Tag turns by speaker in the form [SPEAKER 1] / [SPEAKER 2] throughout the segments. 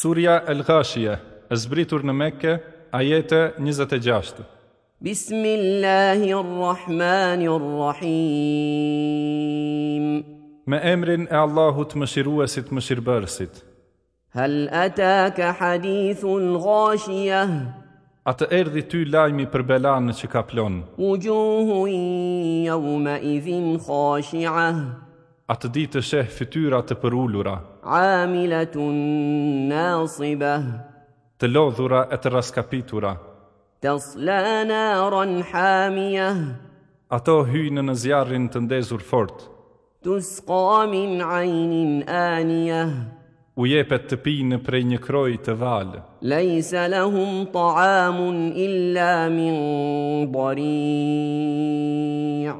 [SPEAKER 1] Surja El Ghashia, e zbritur në Mekke, ajete 26.
[SPEAKER 2] بسم الله الرحمن الرحيم
[SPEAKER 1] Me emrin e Allahut mëshiruesit mëshirbërësit.
[SPEAKER 2] هل أتاك حديث غاشية
[SPEAKER 1] A të erdi ty lajmi për belanën që ka plonë,
[SPEAKER 2] وجوه يومئذ خاشعة
[SPEAKER 1] a të ditë sheh fytyra të përullura,
[SPEAKER 2] عاملة ناصبة
[SPEAKER 1] të lodhura e të raskapitura.
[SPEAKER 2] تصلى نارا حامية
[SPEAKER 1] Ato hyjnë në zjarrin të ndezur fort,
[SPEAKER 2] تسقى من عين آنية
[SPEAKER 1] u jepet të pinë prej një kroj të valë,
[SPEAKER 2] ليس لهم طعام إلا من ضريع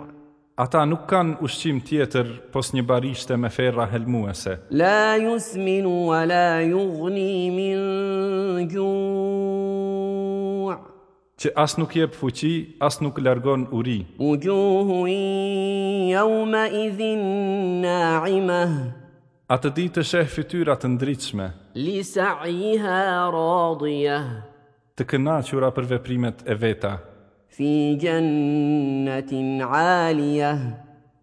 [SPEAKER 1] Ata nuk kanë ushqim tjetër pos një barishte me ferra helmuese,
[SPEAKER 2] لا يسمن ولا يغني من جوع
[SPEAKER 1] që as nuk jep fuqi, as nuk largon uri.
[SPEAKER 2] وجوه يومئذ ناعمة
[SPEAKER 1] Atë ditë sheh fytyra të ndritshme,
[SPEAKER 2] لسعيها راضية
[SPEAKER 1] të kënaqura për veprimet e veta,
[SPEAKER 2] في جنة عالية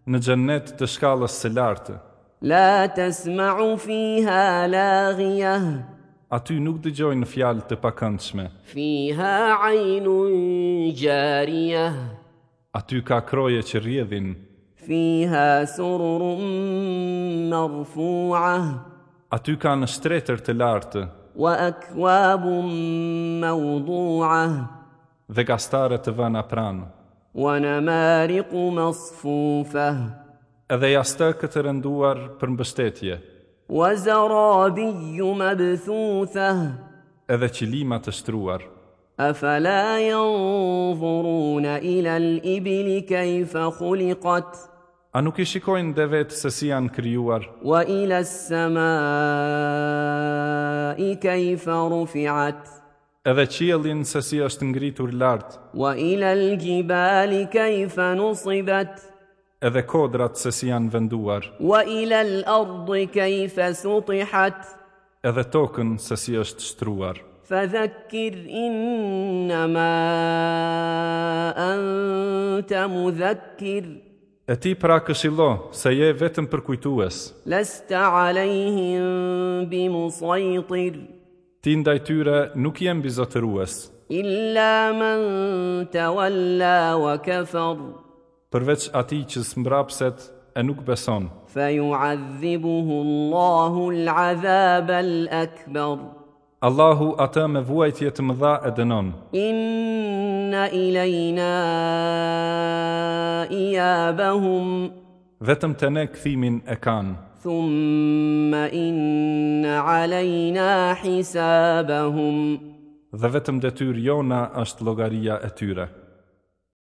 [SPEAKER 1] në xhennet të shkallës së lartë.
[SPEAKER 2] لا تسمع فيها لاغية
[SPEAKER 1] Aty nuk dëgjojnë fjalë të pakëndshme.
[SPEAKER 2] فيها عين جارية
[SPEAKER 1] Aty ka kroje që rrjedhin,
[SPEAKER 2] فيها سرر مرفوعة
[SPEAKER 1] aty kanë shtretër të lartë
[SPEAKER 2] وأكواب موضوعة
[SPEAKER 1] dhe gastare të vëna pranë,
[SPEAKER 2] ونمارق مصفوفة
[SPEAKER 1] edhe jastëkë të rënduar për mbështetje,
[SPEAKER 2] وزرابي مبثوثة
[SPEAKER 1] edhe qilima të shtruar.
[SPEAKER 2] أفلا ينظرون إلى الإبل كيف خلقت
[SPEAKER 1] A nuk i shikojnë devet se si janë kryuar,
[SPEAKER 2] وإلى السماء كيف رفعت
[SPEAKER 1] edhe qiellin se si është ngritur lartë,
[SPEAKER 2] وإلى الجبال كيف نصبت
[SPEAKER 1] edhe kodrat se si janë venduar,
[SPEAKER 2] وإلى الأرض كيف سطحت
[SPEAKER 1] edhe tokën se si është shtruar.
[SPEAKER 2] فذكر إنما أنت مذكر
[SPEAKER 1] E ti pra këshillo se je vetëm përkujtues,
[SPEAKER 2] لست عليهم بمسيطر
[SPEAKER 1] ti ndaj tyre nuk je mbizotërues,
[SPEAKER 2] إلا من تولى وكفر
[SPEAKER 1] përveç ati që smbrapset e nuk beson,
[SPEAKER 2] فيعذبه الله العذاب الأكبر
[SPEAKER 1] Allahu atë me vuajtje të mëdha e dënon.
[SPEAKER 2] إن إلينا إيابهم
[SPEAKER 1] Vetëm të ne këthimin e kanë,
[SPEAKER 2] ثم إن علينا حسابهم
[SPEAKER 1] dhe vetëm detyr jona është logaria e tyre.